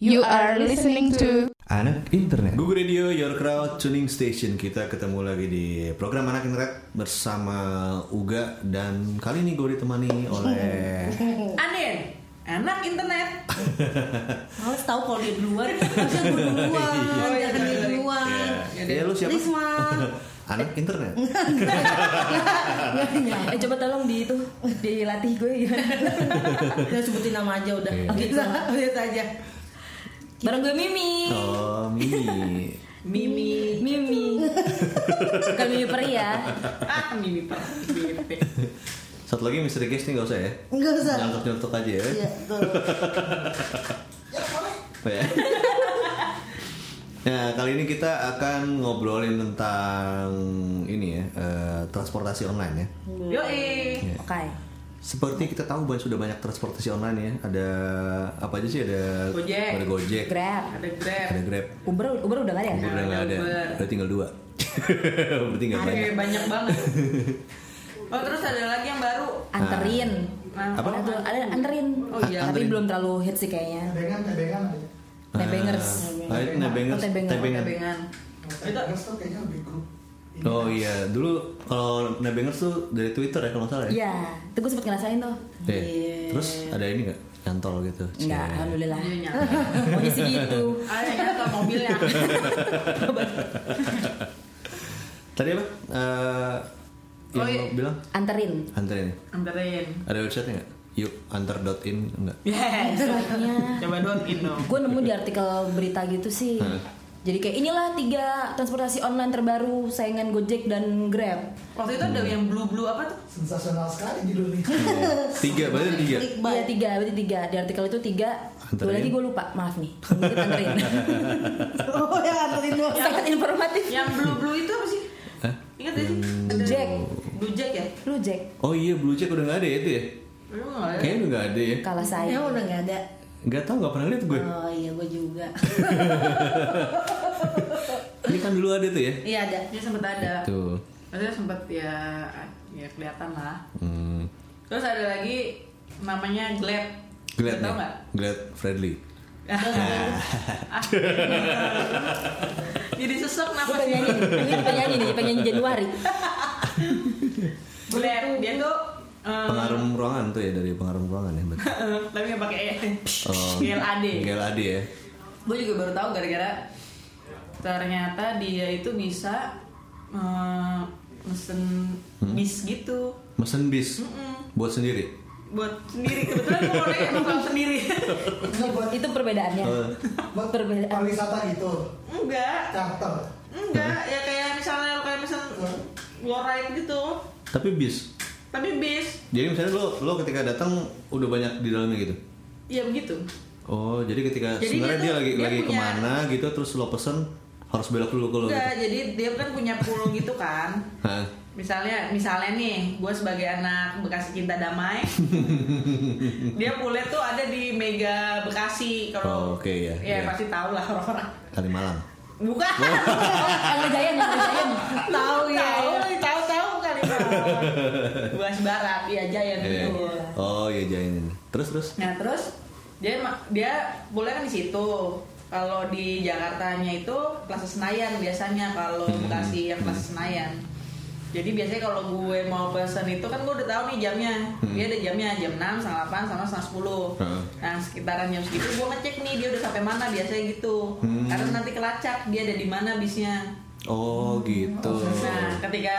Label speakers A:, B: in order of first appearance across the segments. A: You are listening to
B: Anak internet.
C: Google Radio, Your Crowd, Tuning Station Kita ketemu lagi di program Anak Internet Bersama Uga Dan kali ini gue ditemani oleh Ya.
D: Anin anak internet males tahu kalau dia duluan harusnya
C: Iya.
D: gue duluan jangan dia duluan
A: Iya.
C: Ya lu siapa?
D: Risma
C: Anak Internet
D: Iya,
E: Eh coba tolong di itu dilatih gue ya.
D: udah sebutin nama aja udah
C: Iya.
D: gitu lihat aja
E: Iya. Bareng gue Mimi.
C: Oh, Mimi
D: Mimi
E: Mimi. Bukan Mimi Peri ya.
D: ah Mimi Pak. Mimi.
C: Satu lagi Mr. Guest nih gak usah ya
A: Nggak usah.
C: Nyontok-nyontok aja ya
A: Iya, tuh.
C: Ya. Nah, kali ini kita akan ngobrolin tentang ini ya, eh, transportasi online ya.
D: Yoi
E: Oke.
C: Seperti kita tahu banyak sudah banyak transportasi online ya. Ada apa aja sih? Ada
D: Gojek.
C: ada Gojek,
E: Grab.
D: ada Grab
C: ada Grab.
E: Uber Uber udah gak ada ya?
C: Uber udah nggak ada,
D: Uber.
C: udah tinggal dua. Berarti nggak
D: ada
C: banyak.
D: banyak banget oh terus ada lagi yang baru
E: Anterin.
D: Nah,
C: Apa?
E: Ada, ada anterin.
D: Oh, iya.
E: Tapi
C: Ah. Anterin.
E: belum terlalu hit sih kayaknya.
F: Tebengan, tebengan aja.
E: Nebengers.
C: Ah, itu nebengers,
E: Oh, Nebengers.
C: Nebengers.
D: bengan Itu.
F: Tebengan tuh kayaknya lebih grup. Ini
C: Oh iya, dulu kalau nebengers tuh dari Twitter ya kalau nggak salah ya.
E: Iya, itu gue sempet ngerasain tuh.
C: Iya. Terus ada ini nggak? Nyantol gitu.
E: Enggak,
C: Cie.
E: alhamdulillah.
D: Iya, iya.
E: Pokoknya sih gitu.
D: ada Ah, yang nyata mobilnya
C: Tadi apa? Eh,
D: Oh,
C: yang
D: iya.
C: lo bilang
E: Anterin.
C: anterin.
D: anterin
C: Ada website nggak? Yuk antar.in enggak?
D: yes
E: Selanjutnya.
D: coba dong Indo
E: gue nemu di artikel berita gitu sih.
C: Hmm.
E: Jadi kayak inilah tiga transportasi online terbaru saingan Gojek dan Grab.
D: waktu itu ada yang blue blue apa tuh
F: Sensasional sekali judulnya.
C: Oh, Tiga, berarti ada tiga.
E: Iya tiga, berarti tiga. Di artikel itu tiga. Dua
C: Anterin.
E: lagi gue lupa, maaf nih. Mungkin anterin.
A: Oh, yang anterin doang.
E: Sangat informatif.
D: yang blue blue itu apa sih
C: Hah?
D: Ingat gak sih?
E: Blue Jack.
D: Blue Jack ya?
E: Lu Jack,
C: Oh iya, Blue Check udah nggak ada ya itu ya?
D: Belum nggak ada.
C: Kayaknya udah nggak ada ya?
E: kalah
A: Ya
E: saya.
A: udah nggak ada.
C: Nggak tahu, nggak pernah lihat gue.
E: Eh.
A: Oh iya, gue juga.
C: Ini kan dulu ada tuh ya?
A: Iya ada.
D: Dia sempet ada.
C: Tuh.
D: Maksudnya sempet ya, ya kelihatan lah.
C: Hmm.
D: Terus ada lagi namanya Glad.
C: Glad ya?
D: Tau
C: nih.
D: nggak?
C: Glad Friendly.
D: Jadi sesek
E: Gue
D: nama sih.
E: penyanyi, penyanyi, penyanyi nih, penyanyi Januari.
D: Glad. Dia tuh eh,
C: Pengaruh ruangan tuh ya dari pengaruh ruangan ya. betul.
D: tapi nggak pakai E.
C: Oh,
D: GLAD.
C: GLAD ya.
D: Gue juga baru tahu gara-gara ternyata dia itu bisa eh, mesen
C: Hmm?
D: bis gitu.
C: Mesen bis buat sendiri.
D: buat sendiri kebetulan gue mau naik emang kalau sendiri
F: Enggak buat
E: Itu perbedaannya.
C: Eh,
F: buat
E: Perbedaan.
F: pariwisata gitu.
D: enggak
F: Charter.
D: enggak ya kayak misalnya kayak misal ngorek gitu
C: tapi bis.
D: tapi bis
C: Jadi misalnya lo lo ketika datang udah banyak di dalamnya gitu.
D: ya begitu
C: Oh, jadi ketika
D: Jadi
C: sebenarnya
D: dia
C: dia,
D: tuh-
C: lagi
D: dia
C: lagi
D: punya-
C: kemana gitu, terus lo pesen harus belok dulu ke lo gitu.
D: enggak jadi dia kan punya pulau gitu kan
C: Hah?
D: misalnya misalnya nih gue sebagai anak bekasi cinta damai dia pulnya tuh ada di mega bekasi
C: Oh,
D: kalau
C: oke, ya, ya.
D: ya pasti tahu lah orang-orang
C: Kali malam.
D: bukan
C: Oh.
E: Kalau Jayan, kalau Jayan.
D: tahu ya tahu tahu tahu kali Bekasi barat iya jaya
C: Iya.
D: gitu
C: Oh iya jainin. Terus terus.
D: Nah terus dia ma- dia boleh kan di situ. Kalau di Jakartanya itu kelas Senayan biasanya kalau
C: Hmm.
D: Bekasi yang kelas Senayan. Jadi biasanya kalau gue mau pesan itu kan gue udah tahu nih jamnya.
C: Hmm.
D: Dia ada jamnya jam 6, setengah 8, sama setengah 10.
C: Heeh.
D: Nah sekitaran jam segitu gue ngecek nih dia udah sampai mana biasanya gitu.
C: Hmm.
D: Karena nanti kelacak dia ada di mana bisnya.
C: Oh
D: Hmm,
C: gitu.
D: Nah, ketika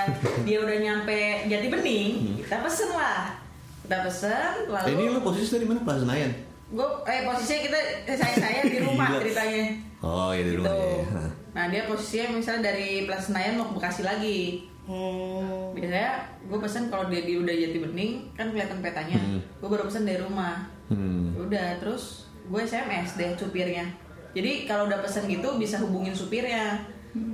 D: dia udah nyampe jadi bening, kita pesen lah. Kita pesen, lalu
C: Eh, Hmm. ini lo posisi dari mana? Plaza Senayan.
D: gue eh posisinya kita saya saya di rumah
C: Gila.
D: ceritanya
C: Oh iya di
D: gitu
C: rumah ya. Hah.
D: nah dia posisinya misalnya dari Plaza Senayan mau ke Bekasi lagi
A: Hmm.
D: biasanya gue pesen kalau dia di udah jati bening kan kelihatan petanya
C: Hmm.
D: gue baru pesen dari rumah Ya
C: Hmm.
D: udah terus gue sms deh supirnya jadi kalau udah pesen gitu bisa hubungin supirnya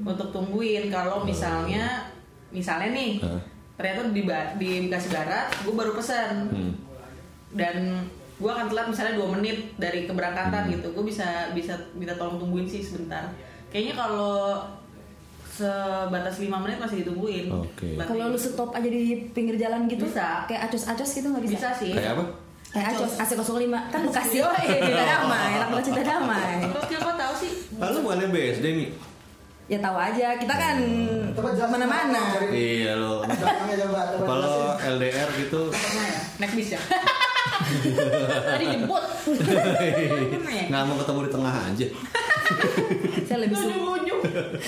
D: untuk tungguin kalau misalnya misalnya nih
C: Hmm. Hah.
D: ternyata di Ba- di Bekasi Barat gue baru pesen
C: Hmm.
D: dan gue akan telat misalnya dua menit dari
C: Hmm.
D: keberangkatan gitu gue bisa bisa minta tolong tungguin sih sebentar kayaknya kalau sebatas lima menit masih ditungguin
C: Oke.
D: Berarti
E: Kalau lu stop aja di pinggir jalan gitu,
D: Bisa.
E: kayak acos-acos gitu nggak bisa.
D: bisa sih
C: Kayak apa?
E: Eh, Acos, AC05 kan Bekasi. Oh, iya, cinta damai, anak buah cinta damai.
D: Lo kira kok tahu sih?
C: Lalu bukannya BSD Mi?
E: Ya tahu aja, kita kan
F: Tempat jelasin.
E: mana-mana.
F: Cari-
C: Iya lo.
F: Belakangnya coba, coba
C: Kalau
F: jelasin.
C: LDR gitu
D: Pernah ya? Naik bis ya? Tadi jemput. Pernah ya?
C: nggak mau ketemu di tengah aja.
E: Saya lebih suka.
D: Ujung-ujung.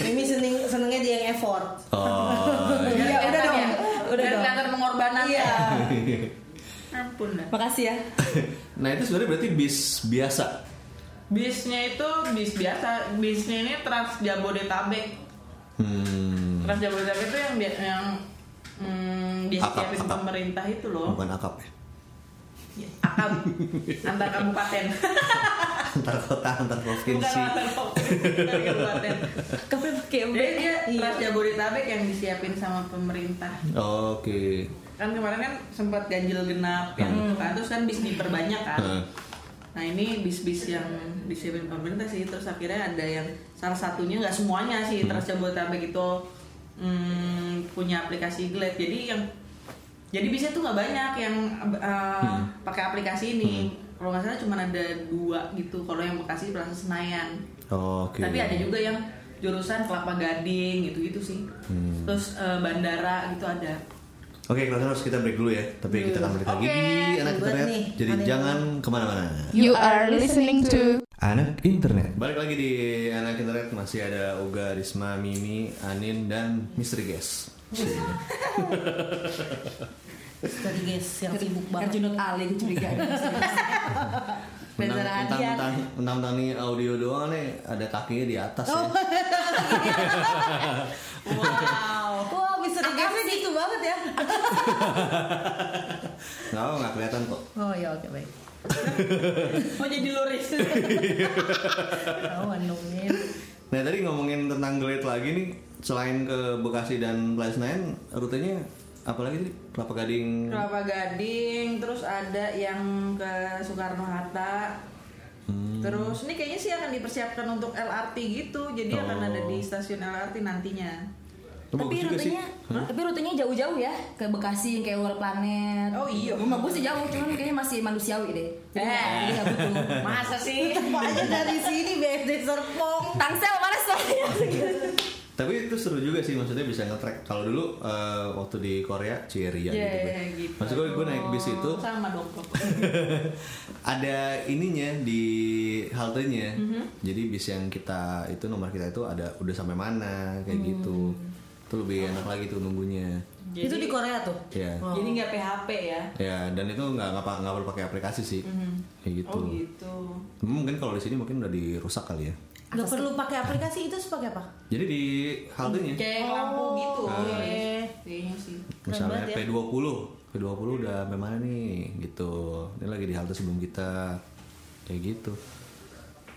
A: Mimi seneng senengnya dia yang effort.
C: Oh. iya.
E: Iya, udah dong. Udah
D: kan? Udah
E: dong.
D: ya? kelihatan pengorbanan.
A: Iya.
D: Ampun dah.
E: Makasih ya.
C: Nah itu sebenarnya berarti bis biasa.
D: Bisnya itu bis biasa. Bisnya ini Trans Jabodetabek.
C: Hmm.
D: Trans Jabodetabek itu yang bi- yang hmm, disediain
C: Akap, akap.
D: pemerintah itu loh.
C: Bukan akap ya.
D: Akab antar kabupaten.
C: Antar kota, antar
D: Bukan
C: provinsi.
D: antar kabupaten, antar kabupaten.
E: Kafe pakai
D: Jadi dia
E: Iya.
D: Trans Jabodetabek yang disiapin sama pemerintah.
C: Oke.
D: kan kemarin kan sempat ganjil genap yang itu kan terus kan bis diperbanyak kan
C: Hmm.
D: nah ini bis-bis yang disiapin pemerintah sih terus akhirnya ada yang salah satunya nggak semuanya sih terus Jabodetabek itu hmm, punya aplikasi Glad jadi yang jadi bisnya tuh nggak banyak yang uh, pakai aplikasi ini kalau nggak salah cuma ada dua gitu kalau yang Bekasi Plaza Senayan
C: Oke.
D: tapi ada juga yang jurusan Kelapa Gading gitu-gitu sih terus eh, bandara gitu ada
C: Oke, kelas harus kita break dulu ya. Tapi kita akan balik lagi
D: Oke,
C: di anak
A: ribet
C: internet.
A: nih.
C: Jadi
A: Ada yang-
C: jangan kemana-mana.
B: You are listening to
C: Anak internet. Balik lagi di anak internet masih ada Uga, Risma, Mimi, Anin dan Misteri Guys.
A: Tadi guys yang sibuk banget.
E: Junut Ali gue curiga.
C: Mentang,
A: Reza
C: mentang,
A: Radian.
C: mentang, mentang, mentang nih audio doang nih ada kakinya di atas
D: Oh.
C: ya.
A: Wow. Wah, bisa dikasih gitu banget ya.
C: Nggak apa nggak kelihatan kok.
A: Oh ya oke baik.
D: mau jadi luris
A: Tahu Bandungnya.
C: Nah tadi ngomongin tentang Glade lagi nih selain ke Bekasi dan Plaza Senayan rutenya apalagi sih Kelapa Gading.
D: Kelapa Gading terus ada yang ke Soekarno Hatta
A: Hmm.
D: terus ini kayaknya sih akan dipersiapkan untuk LRT gitu jadi akan
C: Oh.
D: ada di stasiun LRT nantinya
C: Itu bagus
E: tapi
C: juga sih.
E: rutenya, tapi rutenya jauh-jauh ya ke Bekasi yang kayak World Planet.
D: Oh, iya.
E: Rumah gue sih jauh, cuman kayaknya masih manusiawi deh. Jadi nggak-
D: Eh.
E: jadi nggak butuh.
D: masa sih
A: Apa aja dari sini BFD Serpong.
E: Tangsel mana soalnya?
C: Tapi itu seru juga sih maksudnya bisa nge-track. Kalau dulu eh, waktu di Korea Ceria
D: Iya,
C: gitu.
D: iya,
C: kan.
D: gitu.
C: Maksud gue gue naik bis itu
D: sama dong kok.
C: ada ininya di haltenya. Jadi bis yang kita itu nomor kita itu ada udah sampai mana kayak gitu. Itu lebih enak lagi tuh nunggunya.
D: jadi,
A: itu di Korea tuh.
C: Ya.
D: jadi nggak PHP ya
C: Ya, dan itu nggak nggak pa- nggak perlu pakai aplikasi sih. Kayak gitu.
D: oh gitu
C: Mungkin kalau di sini mungkin udah dirusak kali ya.
A: Gak perlu pakai aplikasi itu sebagai apa?
C: Jadi di haltenya
D: kayak lampu gitu
A: Oh,
D: ya.
A: iya.
D: kayaknya sih
C: misalnya
A: banget ya.
C: P20 P20 udah sampai mana nih gitu ini lagi di halte sebelum kita kayak gitu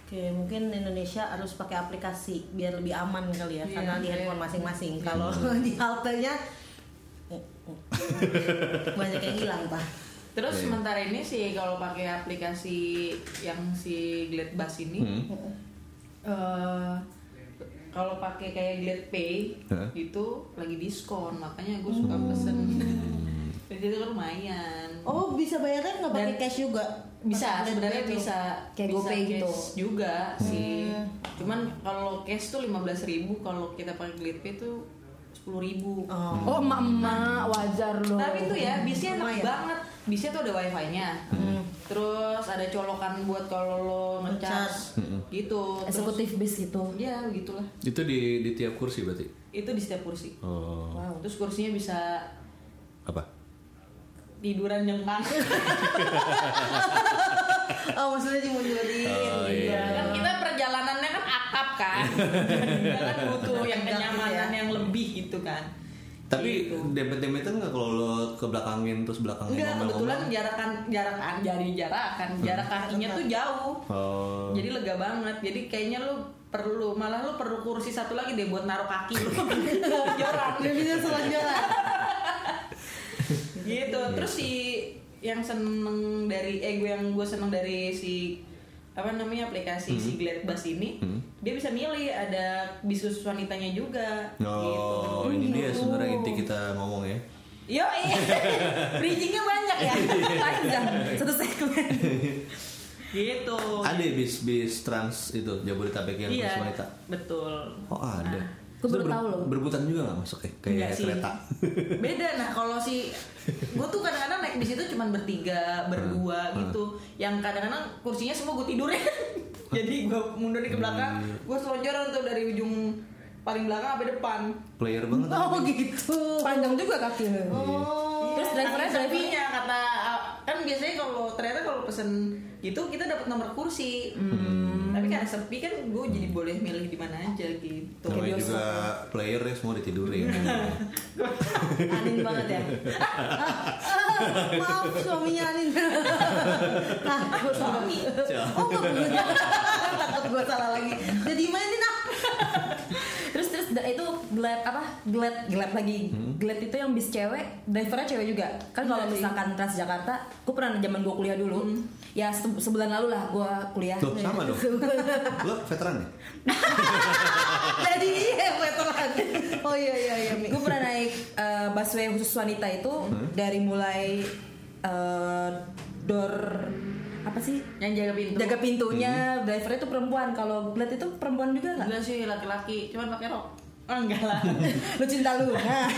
A: Oke, mungkin Indonesia harus pakai aplikasi biar lebih aman kali ya, karena di handphone masing-masing. Kalau di haltenya banyak yang hilang, Pak.
D: Terus
C: Iya.
D: sementara ini sih kalau pakai aplikasi yang si Glade Bus ini,
C: Hmm.
D: eh, kalau pakai kayak Glade Pay
C: Hah? Hmm.
D: itu lagi diskon, makanya gue suka pesen. Jadi itu lumayan.
A: Oh, bisa bayarnya nggak pakai
D: Dan-
A: cash juga?
D: bisa
A: Pakai
D: sebenarnya
A: gitu.
D: bisa
E: Kayak
D: bisa
E: GoPay gitu. Hmm.
D: cash juga sih. Cuman kalau cash tuh 15.000 kalau kita pakai Glade Pay tuh 10.000
A: Oh.
E: Oh, mama wajar loh.
D: Tapi itu ya bisnya enak
A: Lumayan.
D: banget. Bisnya tuh ada wifi-nya. Terus ada colokan buat kalau lo ngecas gitu. Terus-
E: eksekutif bis gitu.
D: Ya gitulah.
C: itu di di tiap kursi berarti
D: Itu di setiap kursi.
C: oh
D: Terus kursinya bisa
C: apa
D: tiduran jengkang.
A: Oh, maksudnya dimundurin.
C: Oh,
D: kan kita perjalanannya kan atap kan. Kita kan butuh yang kenyamanan yang lebih gitu kan.
C: tapi
D: Gitu.
C: dempet dempetan nggak kalau lo ke belakangin terus belakangin
D: Enggak, kebetulan
C: ngomel-ngomel
D: jarakan jarakan jari jarakan jarak kakinya tuh jauh.
C: oh
D: Jadi lega banget. Jadi kayaknya lu perlu malah lu perlu kursi satu lagi deh buat naruh kaki lu. Jorok.
A: Dia bisa selonjoran.
D: gitu.
C: Iya.
D: Terus si yang seneng dari eh gue yang gue seneng dari si apa namanya
C: Hmm.
D: aplikasi si Glad Bus ini dia bisa milih ada bisnis wanitanya juga Gitu.
C: oh ini dia sebenarnya inti kita ngomong ya
D: Yo, bridgingnya banyak ya.
C: Iya.
E: Panjang satu segmen.
D: gitu.
C: Ada ya bis-bis trans itu Jabodetabek yang
D: iya,
C: trans wanita.
D: betul.
C: Oh ada.
D: Nah,
E: Gua
C: Itu
E: baru tahu loh.
C: Berebutan juga nggak masuk ya? Kayak
D: Enggak sih.
C: kereta.
D: Beda nah kalau si gue tuh kadang-kadang naik bis itu cuman bertiga, berdua
C: Hmm.
D: gitu. Yang kadang-kadang kursinya semua gue tidurin. Jadi gue mundur di ke belakang,
C: Hmm.
D: gue selonjoran tuh dari ujung paling belakang sampai depan.
C: Player banget.
A: Oh gitu.
E: Panjang juga kakinya.
D: Oh,
E: Terus drivernya driver.
D: drivernya kata kan biasanya kalau ternyata kalau pesen gitu kita dapat nomor kursi.
C: Hmm.
D: Tapi karena sepi kan gue jadi boleh milih di mana aja gitu.
C: Namanya juga player ya semua ditidurin.
A: Anin banget ya. Maaf suaminya Anin. Nah, suami. Oh, nggak punya. Takut gue salah lagi. Jadi mainin ah.
E: Terus terus da- itu glad apa? Glad glad lagi.
A: Hmm.
E: Glad itu yang bis cewek, drivernya cewek juga. Kan
A: Iya,
E: kalau misalkan Transjakarta, gue pernah zaman gue kuliah dulu.
A: Hmm.
E: Ya se- sebulan lalu lah gue kuliah.
C: Tuh sama dong. Lo veteran ya?
A: Jadi iya veteran. Oh iya iya iya. Mi. Hmm.
E: gue pernah naik eh, busway khusus wanita itu dari mulai eh, door apa sih
D: Yang jaga pintu.
E: jaga pintunya drivernya itu perempuan kalau Glad itu perempuan juga nggak
D: Enggak sih laki-laki, cuman pakai rok. Oh, enggak lah.
E: lu cinta lu Hah.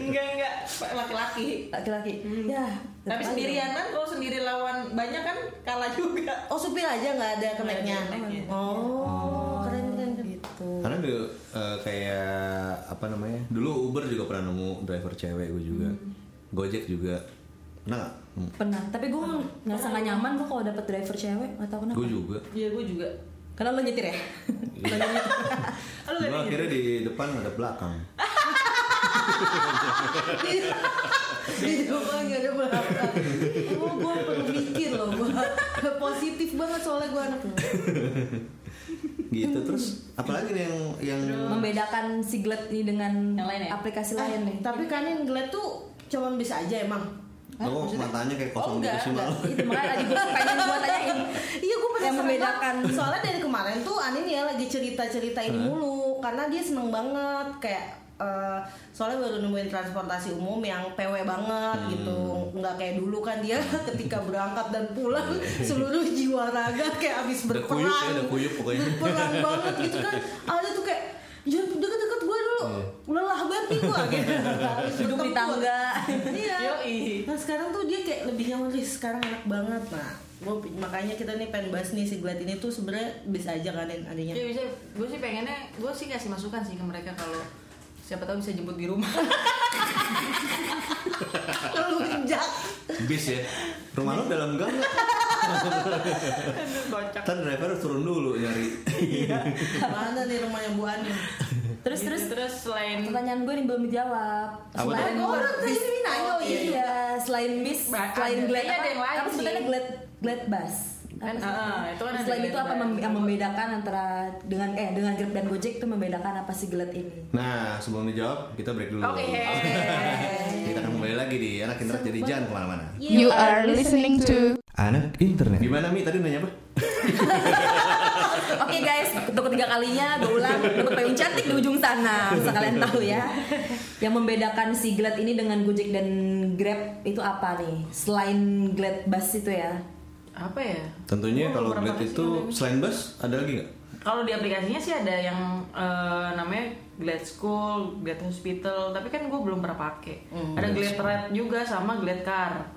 D: enggak enggak laki-laki.
E: laki-laki ya
D: Hmm. Tapi sendirian kan kalau sendiri lawan banyak kan kalah juga.
A: Oh supir aja nggak ada keneknya.
D: Nggak ada keneknya.
E: gitu. Oh.
A: Oh keren keren. keren.
C: Karena dulu eh, kayak apa namanya? Dulu Uber juga pernah nemu driver cewek gue juga.
D: Hmm.
C: Gojek juga. Nah,
E: pernah tapi gue ngerasa nggak nyaman gue kalau dapet driver cewek nggak tahu kenapa
C: gue juga.
D: Iya, gue juga.
E: karena lo nyetir ya
D: Lu
C: Gue
D: gak
C: akhirnya di depan ada belakang.
A: Di depan nggak ada berapa. Oh gue perlu mikir loh. Gue positif banget soalnya gue anaknya.
C: Gitu
D: Hmm.
C: terus apalagi nih yang yang
E: membedakan si Glad ini dengan
D: Yang lain ya?
E: aplikasi lain nih
A: Eh, Tapi kanin ngeliat tuh cuman bisa aja emang.
C: lo Oh, matanya kayak kosong
D: Oh,
C: gitu
D: enggak,
C: sih malu.
E: itu makanya lagi gue pengen gue tanyain
A: Iya gue penasaran
E: Yang membedakan.
A: banget. soalnya dari kemarin tuh Anin ya lagi cerita cerita ini mulu karena dia seneng banget kayak eh, soalnya baru nemuin transportasi umum yang PW banget
C: Hmm.
A: gitu nggak kayak dulu kan dia ketika berangkat dan pulang seluruh jiwa raga kayak abis
C: Udah
A: berperang
C: kuyup ya, udah kuyup pokoknya.
A: berperang banget gitu kan ada tuh kayak jangan deket-deket gue dulu
C: Iya.
A: lelah banget nih gue gitu
E: duduk di tangga
A: iya
D: Yoi.
A: Nah sekarang tuh dia kayak lebih nyaman sih sekarang enak banget nah gua, makanya kita nih pengen bahas nih si Glad ini tuh sebenarnya bisa aja kan, kalian adanya
D: Ya bisa, gue sih pengennya, gue sih kasih masukan sih ke mereka kalau siapa tahu bisa jemput di rumah.
A: telunjak
C: Bis ya. Rumah lo dalam gang nggak?
D: Aduh, Iya. kocak.
C: Ntar driver harus turun dulu nyari.
A: mana nih rumahnya Bu Ani Gitu.
E: terus terus
D: terus selain
E: pertanyaan gue nih belum dijawab
C: Apa
E: selain
A: tuh? Orang tadi
E: bis-
A: ini nanya, oh iya
E: iya selain bis
D: Ba-
E: selain
D: ada-
E: glad
D: iya,
E: apa
D: ada yang lain
E: tapi
D: sih.
E: sebenarnya glad glad bus
D: Kan,
E: Apa sih?
D: ah, itu kan ada
E: selain
D: glad
E: itu apa
D: bus.
E: mem- yang membedakan antara dengan eh dengan grab dan gojek itu membedakan apa sih glad ini
C: Nah, sebelum dijawab, kita break dulu.
D: Oke.
C: kita akan kembali lagi di anak internet jadi jangan kemana-mana.
B: You are listening to
C: Anak internet. Gimana Mi? Tadi nanya apa?
E: Oke guys, untuk ketiga kalinya gue ulang Dapat payung cantik di ujung sana Bisa kalian tahu ya Yang membedakan si Glad ini dengan Gojek dan Grab itu apa nih? Selain Glad Bus itu ya
D: apa ya?
C: Tentunya
D: Gua
C: kalau
D: kurang
C: Glad
D: paham sih
C: itu
D: namanya.
C: selain bus ada lagi nggak?
D: Kalau di aplikasinya sih ada yang eh, namanya Glad School, Glad Hospital, tapi kan gue belum pernah pakai. Ada Glad Red juga sama Glad Car.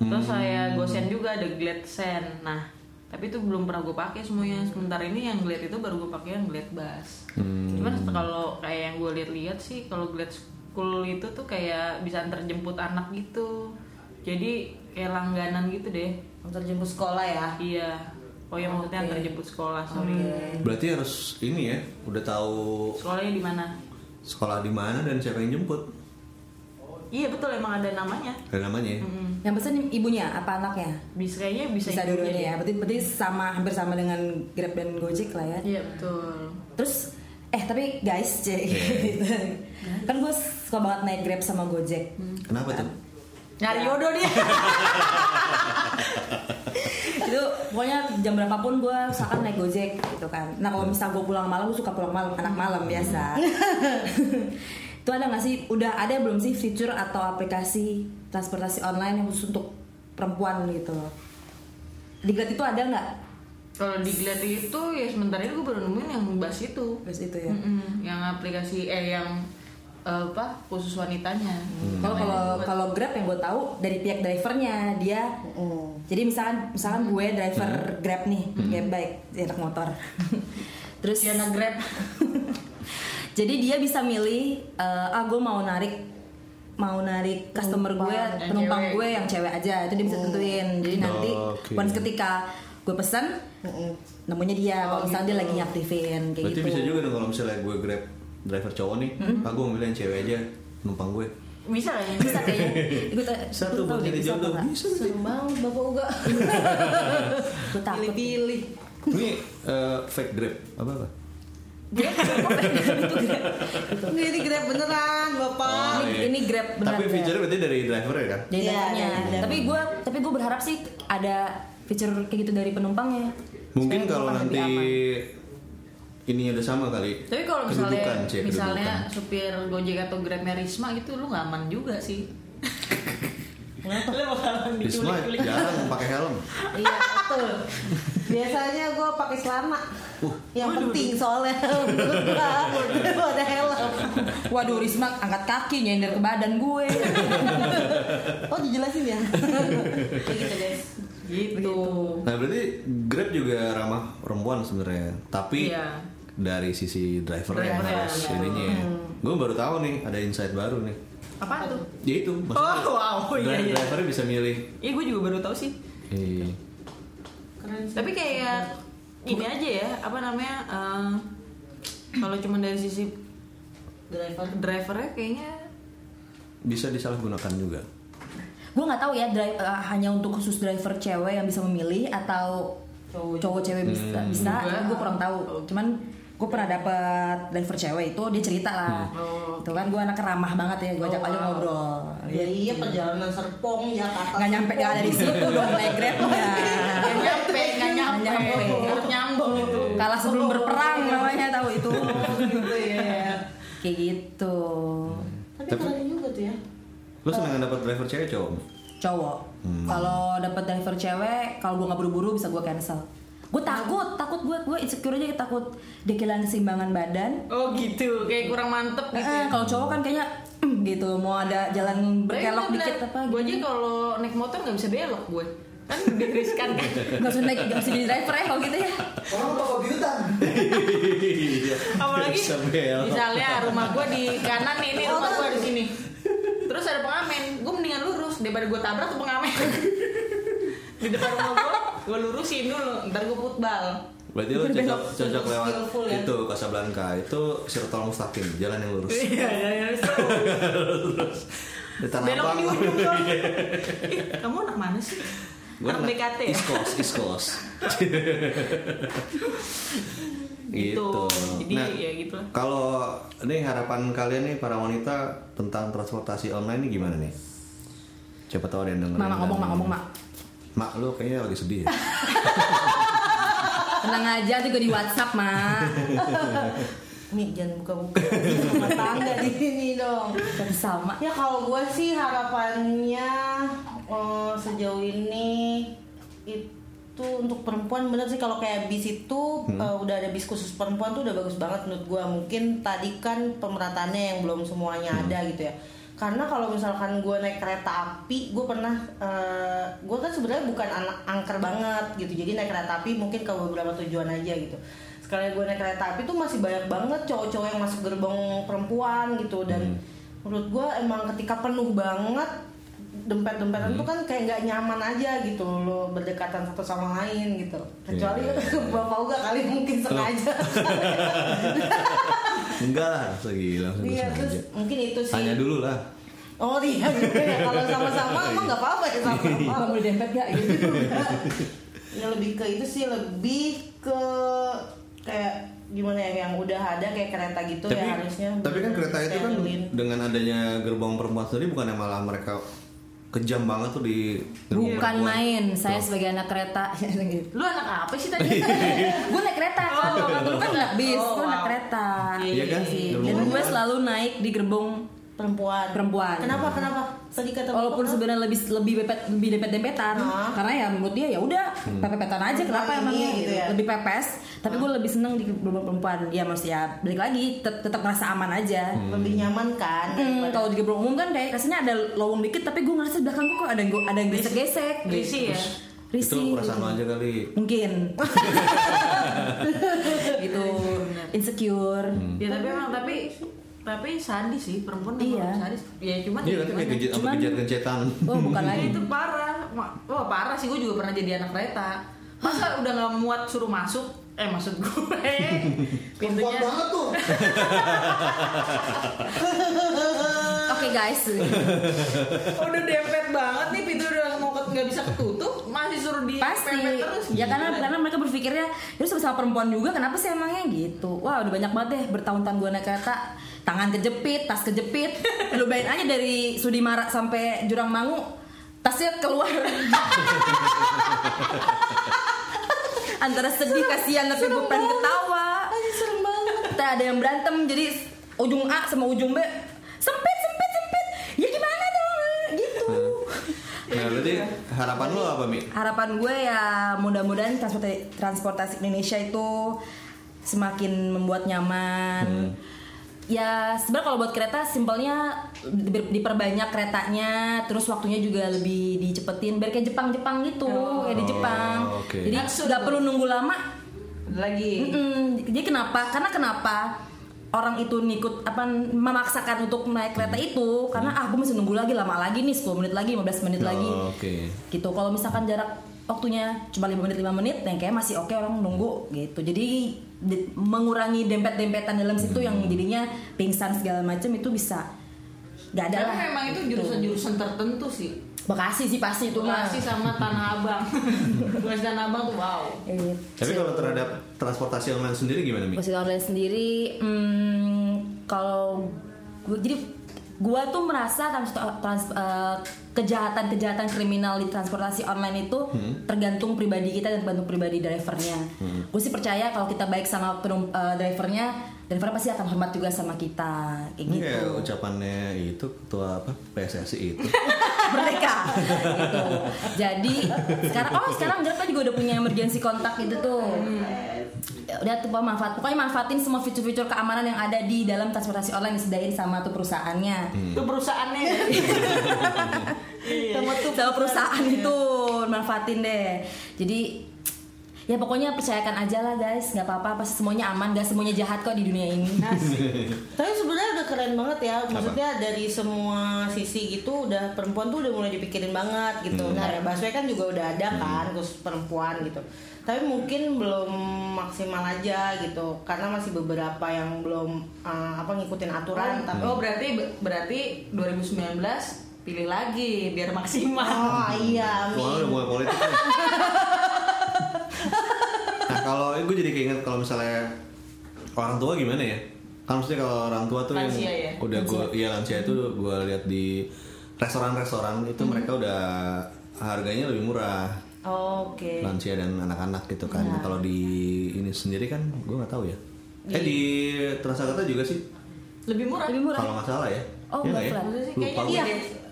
D: Terus saya Gosen juga ada Glad Sen. Nah, tapi itu belum pernah gue pakai semuanya. Sementara ini yang Glad itu baru gue pakai yang Glad Bus. Cuman kalau kayak yang gue lihat-lihat sih kalau Glad School itu tuh kayak bisa antar jemput anak gitu. Jadi kayak langganan gitu deh.
A: antar jemput sekolah ya
D: Iya. Oh ya maksudnya antar jemput sekolah, sorry.
C: Berarti harus ini ya, udah tahu
D: Sekolahnya di mana?
C: sekolah di mana dan siapa yang jemput.
D: Iya betul emang ada namanya.
C: Ada namanya ya.
D: Hmm.
E: Yang pesan ibunya apa anaknya?
D: Bisa kayaknya bisa.
E: Bisa
D: ikut
E: dua-duanya ya berarti, berarti sama hampir sama dengan Grab dan Gojek lah ya
D: jadi. Iya betul.
E: Terus Eh tapi guys cek gitu. Kan gue suka banget naik Grab sama Gojek
C: Kenapa tuh?
D: Nyari jodoh dia.
E: itu pokoknya jam berapapun gue usahakan naik gojek gitu kan nah kalau misal gue pulang malam gue suka pulang malam anak malam biasa Itu ada nggak sih? Udah ada belum sih fitur atau aplikasi transportasi online yang khusus untuk perempuan gitu? Di Grab itu ada nggak?
D: Kalau di Glad itu ya sementara ini gue baru nemuin yang bas itu.
E: Terus itu ya.
D: Mm-mm, yang aplikasi eh yang eh, apa khusus wanitanya.
C: Hmm.
E: Kalau kalau kalau Grab yang gue tahu dari pihak drivernya dia
D: Hmm.
E: jadi misalkan misalkan gue driver
C: Hmm.
E: Grab nih Grab bike ya, anak motor terus
D: si anak Grab
E: jadi dia bisa milih eh, ah gue mau narik mau narik customer gue
D: Penumpang yang
E: penumpang
D: cewek. gitu. Hmm.
E: gue yang cewek aja itu dia bisa tentuin jadi nanti
C: Oh, Oke.
E: once ketika gue pesan
D: Hmm.
E: namanya dia
D: Oh,
E: kalau misalnya
D: gitu.
E: dia lagi ngaktifin kayak
C: Berarti
E: gitu
C: bisa juga dong kalau misalnya gue grab driver cowok nih, pak gue ambil yang cewek aja numpang gue.
D: bisa lah ya. Bisa kayaknya.
E: Gue ta-
C: Satu
E: gue tahu
C: buat
E: dia
C: nyari
E: bisa apa
C: jodoh
E: nggak.
C: bisa.
A: Serem banget Bapak Uga.
E: gue takut
A: Pilih-pilih.
C: Ini eh, fake grab apa apa?
E: Dia kenapa pengen gitu Grab? Gitu.
A: Nggak, Ini grab beneran
C: Oh.
A: Bapak.
E: ini- ini Grab benar,
C: Tapi
E: Grab.
C: fiturnya berarti dari driver ya kan?
E: dari
A: Iya,
E: drivernya.
A: dari driver.
E: tapi gue tapi gue berharap sih ada fitur kayak gitu dari penumpangnya
C: Mungkin
E: Supaya
C: kalau
E: penumpang
C: nanti
E: lebih
C: ininya udah sama kali.
D: Tapi kalau misalnya
C: Kedudukan, cek,
D: misalnya
C: kedudukan.
D: supir Gojek atau Grabnya Risma gitu lu nggak aman juga sih. Kenapa? Lu bakalan
C: Risma
D: diculik-culik.
C: jarang pakai helm.
A: Iya betul. Biasanya gue pakai celana. yang penting soalnya menurut gua, daripada helm.
E: aman. waduh Risma angkat kaki nyender ke badan gue
D: Iya,
A: Oh dijelasin ya. Kayak gitu guys.
D: Gitu.
C: Nah berarti Grab juga ramah perempuan sebenarnya, tapi
D: Iya.
C: dari sisi driver yang
D: Drivernya,
C: harus
D: iya.
C: ininya. ya. Gue baru tahu nih ada insight baru nih.
D: Apaan tuh?
C: Ya itu maksudnya
D: Oh, wow,
C: dri-
D: iya, iya.
C: drivernya bisa milih.
D: Iya gue juga baru tahu sih.
C: Iya.
D: Tapi kayak ini aja ya, apa namanya? eh, kalau cuma dari sisi driver drivernya kayaknya
C: Bisa disalahgunakan juga.
E: gue nggak tahu ya dri- eh, hanya untuk khusus driver cewek yang bisa memilih atau
D: Cowok.
E: cowok cewek bisa bisa
D: Juga.
E: gue kurang tahu cuman gue pernah dapet driver cewek itu dia cerita lah
D: Oh.
E: itu kan gue anak ramah banget ya gue ajak aja ngobrol
A: Ya iya perjalanan Serpong Jakarta.
E: nggak nyampe nggak ada di situ dong naik grab
D: nggak
E: ya
D: nyampe, nggak nyampe,
E: Nggak nyampe.
D: Harus nyambung gitu.
E: kalah sebelum berperang
A: Oh.
E: namanya tahu itu
A: gitu ya.
E: kayak gitu
A: Tapi
C: Tapi-
A: keren juga tuh ya.
C: Lo
D: Oh.
C: seneng dapat driver cewek cowok?
E: cowok kalau dapat driver cewek kalau gue nggak buru-buru bisa gue cancel gue takut takut gue gue insecure aja takut dia kehilangan keseimbangan badan
D: Oh gitu, kayak kurang mantep gitu.
E: Eh,
D: ya.
E: kalau cowok kan kayaknya "Mm," gitu mau ada jalan berkelok dikit apa
D: Gue aja
E: gitu
D: kalau naik motor nggak bisa belok gue. Kan udah riskan kan.
E: nggak usah naik nggak usah jadi driver ya kalau gitu ya
F: Orang mau ke biutan.
C: Iya.
D: Apalagi
C: Bisa belok.
D: misalnya rumah gue di kanan nih, ini
A: Oh,
D: rumah
A: kan.
D: gue di sini. Terus ada pengamen, gue mendingan lurus daripada gue tabrak tuh pengamen. di depan rumah gue, gue lurusin dulu, ntar gue putbal.
C: Berarti lo cocok, cocok lewat
A: Skillful ya.
C: itu Casablanca itu Sirtol Mustaqim jalan yang lurus.
D: Iya, iya, iya.
C: Di Tanah
D: Belok
C: Abang. Iya.
D: di ujung dong. Ih, kamu anak mana sih?
C: Gua
D: anak
C: nge-
D: BKT ya?
C: East Coast, East Coast. gitu.
D: Jadi
C: Nah,
D: ya gitu lah.
C: Kalau ini harapan kalian nih para wanita tentang transportasi online ini gimana nih? Siapa tahu ada yang dengerin.
E: Mak, mak, ngomong,
C: dan-
E: mak, ngomong, mak.
C: Mak lu kayaknya lagi sedih ya.
E: tenang aja juga di WhatsApp mak
A: Mi jangan buka-buka. Rumah tangga di sini dong.
E: Tapi sama
A: Ya kalau gue sih harapannya eh, sejauh ini itu untuk perempuan bener sih kalau kayak bis itu eh, udah ada bis khusus perempuan tuh udah bagus banget menurut gue. Mungkin tadi kan pemerataannya yang belum semuanya ada gitu ya. Karena kalau misalkan gue naik kereta api, gue pernah gue kan sebenarnya bukan anak angker banget gitu. Jadi naik kereta api mungkin ke beberapa tujuan aja gitu. Sekali gue naik kereta api tuh masih banyak banget cowok-cowok yang masuk gerbong perempuan gitu dan menurut gue emang ketika penuh banget dempet-dempetan
C: Hmm.
A: tuh kan kayak nggak nyaman aja gitu lo berdekatan satu sama lain gitu kecuali
C: Iya, iya, iya.
A: bapak Uga kali mungkin sengaja
C: Enggak lah, segila langsung
A: iya
C: sengaja.
A: terus mungkin itu sih
C: Tanya dulu lah.
A: oh iya juga ya kalau sama-sama emang nggak apa-apa ya
C: Iya,
A: sama-sama
E: bang beli dempet gak gitu
A: ya lebih ke itu sih lebih ke kayak gimana ya yang udah ada kayak kereta gitu ya harusnya
C: tapi kan kereta itu kan
A: steril.
C: dengan adanya gerbong perempuan sendiri bukan yang malah mereka kejam banget tuh di gerbong
E: bukan
C: perempuan.
E: main saya sebagai anak kereta gitu
D: Lu anak apa sih tadi?
E: gue naik kereta kalau dulu Oh, kan nggak bis
D: Oh,
E: gue naik
D: wow.
E: kereta
C: Iya kan?
E: dan
C: Gerbong
E: gue
C: perempuan.
E: selalu naik di gerbong
A: perempuan
E: Perempuan.
A: kenapa kenapa tadi kata bapak
E: walaupun
A: kenapa?
E: sebenarnya lebih lebih bepet lebih dempet dempetan
A: Hah?
E: karena ya menurut dia ya udah
C: Hmm.
E: pepetan aja kenapa
A: Nah,
E: emangnya
A: iya,
E: gitu
A: gitu ya.
E: lebih pepes tapi gue lebih seneng di gerbong perempuan ya maksudnya balik lagi tet- tetap ngerasa aman aja
C: Hmm.
A: lebih nyaman kan
E: Hmm,
A: daripada-
E: kalau di gerbong umum kan kayak rasanya ada lowong dikit tapi gue ngerasa di belakang gue kok ada yang ada yang gesek-gesek
D: Berisi ya.
C: Itu
E: Risih.
C: perasaan lo aja kali.
E: mungkin gitu insecure
D: Ya tapi emang tapi tapi sadis sih perempuan
E: Iya.
D: emang sadis. Ya cuman
C: Iya kan kayak gejet apa
E: Cuman-
C: gejet-gejetan.
E: oh bukan
D: Ya,
E: lagi
D: itu parah. Ma- Wah parah sih gue juga pernah jadi anak kereta. Masa udah nggak muat suruh masuk? Eh maksud gue
F: Kuat
D: pintunya.
F: banget tuh.
E: oke guys
D: Oh, udah dempet banget nih pintu udah mau ke- nggak bisa ketutup masih suruh di
E: pasti
D: pepet terus
E: ya karena
D: Gila.
E: karena mereka berpikirnya terus sama perempuan juga kenapa sih emangnya gitu wah udah banyak banget deh bertahun-tahun gue naik kereta tangan kejepit tas kejepit lu bayangin aja dari Sudimara sampai Jurang Mangu tasnya keluar antara sedih kasihan tapi gue pengen ketawa serem banget ada yang berantem jadi ujung A sama ujung B sempit sempit sempit ya gimana dong gitu
C: Nah, berarti harapan lo apa, Mi?
E: harapan gue ya mudah-mudahan transportasi, transportasi Indonesia itu semakin membuat
C: Hmm.
E: nyaman. Ya sebenarnya kalau buat kereta simpelnya di- diperbanyak keretanya, terus waktunya juga lebih dicepetin. Biar kayak Jepang-Jepang gitu, kayak di
C: Oh,
E: Jepang.
C: oke.
E: Jadi nggak perlu nunggu lama.
D: lagi
E: Mm-mm. Mm, Jadi kenapa? Karena kenapa? orang itu ngikut apa memaksakan untuk naik kereta itu karena ah gue masih nunggu lagi lama lagi nih 10 menit lagi 15 menit lagi
C: Oh, Oke.
E: gitu kalau misalkan jarak waktunya cuma 5 menit 5 menit yang kayak masih oke orang nunggu gitu jadi di- mengurangi dempet-dempetan dalam situ yang
C: Hmm.
E: jadinya pingsan segala macam itu bisa nggak ada
D: tapi
E: lah
D: memang itu jurusan-jurusan tertentu sih
E: Bekasi sih pasti itu mah
D: Bekasi sama Tanah Abang Bekasi Tanah Abang tuh wow
E: Gitu.
C: Tapi kalau terhadap transportasi online sendiri gimana, Mi?
E: Musik online sendiri hmm, kalau gue jadi gua tuh merasa trans- trans- eh, kejahatan-kejahatan kriminal di transportasi online itu tergantung pribadi kita dan tergantung pribadi drivernya. Gue sih percaya kalau kita baik sama penum- eh, drivernya, driver pasti akan hormat juga sama kita kayak
C: Ini
E: gitu.
C: kayak ucapannya itu ketua apa PSSI itu.
E: mereka gitu. Jadi sekarang oh sekarang Grab kan juga udah punya emergency kontak gitu tuh. Ya Udah tuh Pak, manfaat. Pokoknya manfaatin semua fitur-fitur keamanan yang ada di dalam transportasi online yang disediain sama tuh perusahaannya.
D: itu perusahaannya
E: Sama tuh sama perusahaan itu manfaatin deh. Jadi ya pokoknya percayakan aja lah guys, nggak apa-apa pasti semuanya aman, nggak semuanya jahat kok di dunia ini.
A: Tapi sebenarnya udah keren banget ya, maksudnya dari semua sisi gitu udah perempuan tuh udah mulai dipikirin banget gitu. Nah, ya Baswe kan juga udah ada kan, khusus perempuan gitu. Tapi mungkin belum maksimal aja gitu, karena masih beberapa yang belum eh, apa ngikutin aturan. Tapi
D: oh berarti berarti 2019 pilih lagi biar maksimal
A: oh iya,
C: Wah, udah
A: amin.
C: mulai politik. nih. nah, kalau gue jadi keinget kalau misalnya orang tua gimana ya? Kan maksudnya kalau orang tua tuh
D: Lansia
C: yang
D: ya?
C: udah gue iya lansia itu gue lihat di restoran-restoran itu mereka udah harganya lebih murah
A: Oke.
C: lansia dan anak-anak gitu kan.
D: Iya.
C: Kalau di ini sendiri kan gue nggak tahu ya.
D: Iya.
C: Eh di Transjakarta juga sih
D: lebih murah
E: Lebih murah.
C: kalau nggak salah ya.
E: Oh,
C: Iya nggak
E: nggak
C: ya?
E: flat.
D: Maksudnya
C: Lupa
D: kayaknya
C: gue.
D: iya.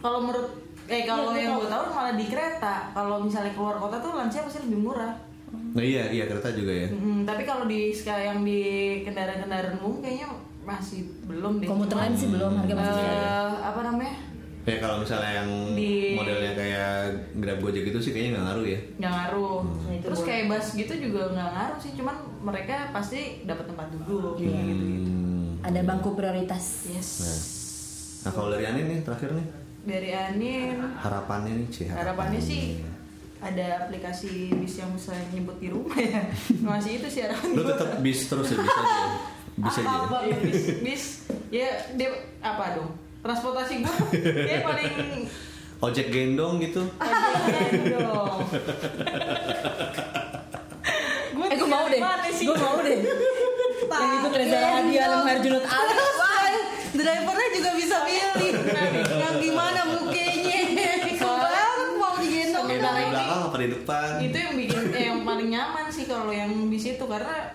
D: Kalau menurut eh
E: Iya,
D: kalau yang gue tahu malah di kereta. Kalau misalnya keluar kota tuh lansia pasti lebih murah.
C: Nah, iya iya kereta juga ya.
D: Mm, tapi kalau di ska- yang di kendaraan-kendaraan umum kayaknya masih belum deh.
E: Komuter
D: Cuma,
E: lain sih belum harga masih jahat.
D: eh, apa namanya?
C: Ya kalau misalnya yang
D: Di-
C: modelnya kayak Grab Gojek itu sih kayaknya nggak ngaruh ya.
D: nggak ngaruh.
C: Nah,
D: Terus kayak bus gitu juga nggak ngaruh sih. Cuman mereka pasti dapat tempat duduk
C: Iya,
D: gitu gitu.
C: Hmm.
E: Ada bangku prioritas.
D: Yes.
C: Nah kalau dari Anin nih terakhir nih
D: Dari Anin
C: harapannya nih Ci
D: harapannya sih ada aplikasi bis yang bisa nyebut di rumah ya masih itu sih harapan
C: Lu
D: gua.
C: tetap bis terus ya bisa aja. ya? Bisa aja.
D: apa, apa, bis, bis ya dia apa dong transportasi gua dia paling
C: Ojek gendong gitu.
D: paling dong gua
E: Eh gue mau deh, gue mau deh. Yang ikut Reza Rahadian, Herjunot Ali.
A: Iya, Wah, drivernya juga bisa milih. Nah, Yang gimana mukanya? Keren banget mau digendong.
C: Gendong di belakang apa di depan?
D: itu yang bikin eh, yang paling nyaman sih kalau yang bis itu karena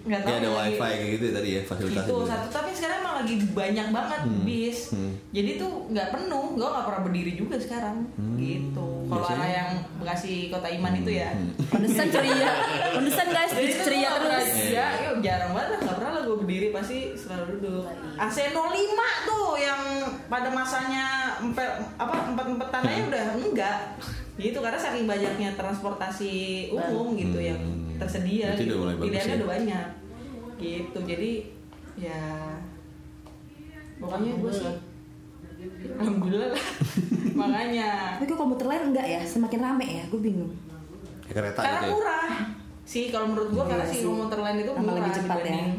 D: Nggak tahu
C: Ya ada
D: ya, lagi.
C: wifi kayak gitu ya tadi ya fasilitas
D: itu
C: itu.
D: satu tapi sekarang emang lagi banyak banget
C: Hmm.
D: bis
C: Hmm.
D: jadi tuh nggak penuh gue nggak pernah berdiri juga sekarang gitu
C: Hmm,
D: kalau
C: Biasanya- Hmm,
D: arah yang bekasi kota iman itu ya
E: Pantesan ceria. Pantesan guys,
D: jadi itu
E: ceria
D: gua nggak
E: terus.
D: pernah- ya, ya jarang banget nggak pernah lah gue berdiri pasti selalu duduk AC 05 tuh yang pada masanya empe, apa empat empatan aja
C: Hmm.
D: udah enggak gitu karena saking banyaknya transportasi umum gitu
C: Hmm.
D: yang tersedia
C: Itu udah
D: gitu.
C: mulai bagus
D: pilihannya
C: ya.
D: udah banyak gitu jadi ya pokoknya gue sih alhamdulillah lah. makanya
E: Tapi kok komuter lain enggak ya? Semakin rame ya, gue bingung.
C: Ya, kereta
D: karena
C: gitu ya.
D: murah sih kalau menurut gua
E: Iya
D: karena si
E: sih.
D: komuter lain itu
E: Tambah
D: murah
E: lebih cepat ya.
D: dibanding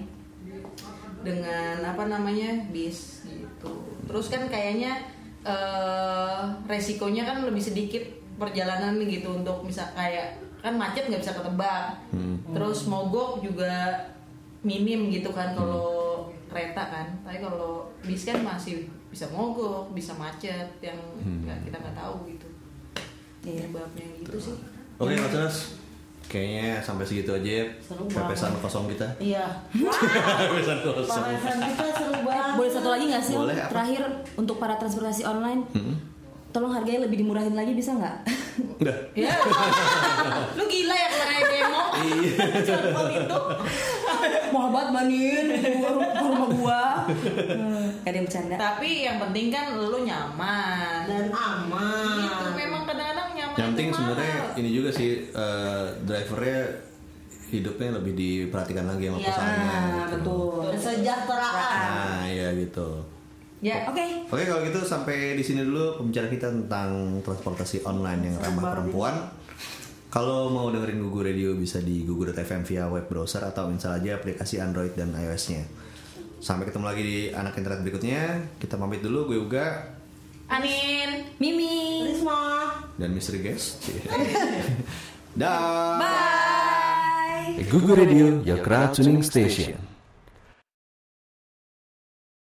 D: dengan apa namanya bis gitu terus kan kayaknya eh, resikonya kan lebih sedikit perjalanan gitu untuk misal kayak kan macet nggak bisa ketebak
C: Hmm.
D: terus mogok juga minim gitu
C: Hmm.
D: kan kalau kereta kan tapi kalau bis kan masih bisa mogok bisa macet yang
C: Hmm.
D: nggak- kita nggak tahu gitu
E: Iya.
D: penyebabnya gitu sih
C: Oke, Mas Nas. Kayaknya sampai segitu aja ya.
A: Iya. Seru banget.
C: Pepesan kosong kita.
A: Iya.
C: Pepesan kosong.
A: Pembahasan kita seru banget.
E: Eh, Boleh satu lagi nggak sih?
C: Boleh, apa?
E: Terakhir untuk para transportasi online, tolong harganya lebih dimurahin lagi bisa nggak?
C: Udah.
D: Ya. lu gila ya kemarin ada demo.
C: Iya.
D: Contoh itu.
E: Mahal banget manin, rumah, rumah gua. Gak Hmm, ada yang bercanda.
D: Tapi yang penting kan lu nyaman.
A: dan aman.
D: Itu memang kadang-kadang nyaman.
C: Yang penting
D: itu mahal.
C: sebenarnya ini juga sih eh, drivernya hidupnya lebih diperhatikan lagi sama
D: Iya,
C: perusahaannya.
E: Nah,
C: gitu.
E: betul.
A: Kesejahteraan.
C: Nah, ya gitu.
D: Ya,
E: Oke,
C: Oke, kalau gitu sampai di sini dulu pembicaraan kita tentang transportasi online yang ramah perempuan. Kalau mau dengerin Gugu Radio bisa di gugu.fm via web browser atau install aja aplikasi Android dan iOS-nya. Sampai ketemu lagi di anak internet berikutnya. Kita pamit dulu, gue Uga
D: Anin.
E: Mimi.
A: Risma.
C: dan Mr. Guest. Dah.
E: Bye.
G: Google Radio, your crowd tuning station.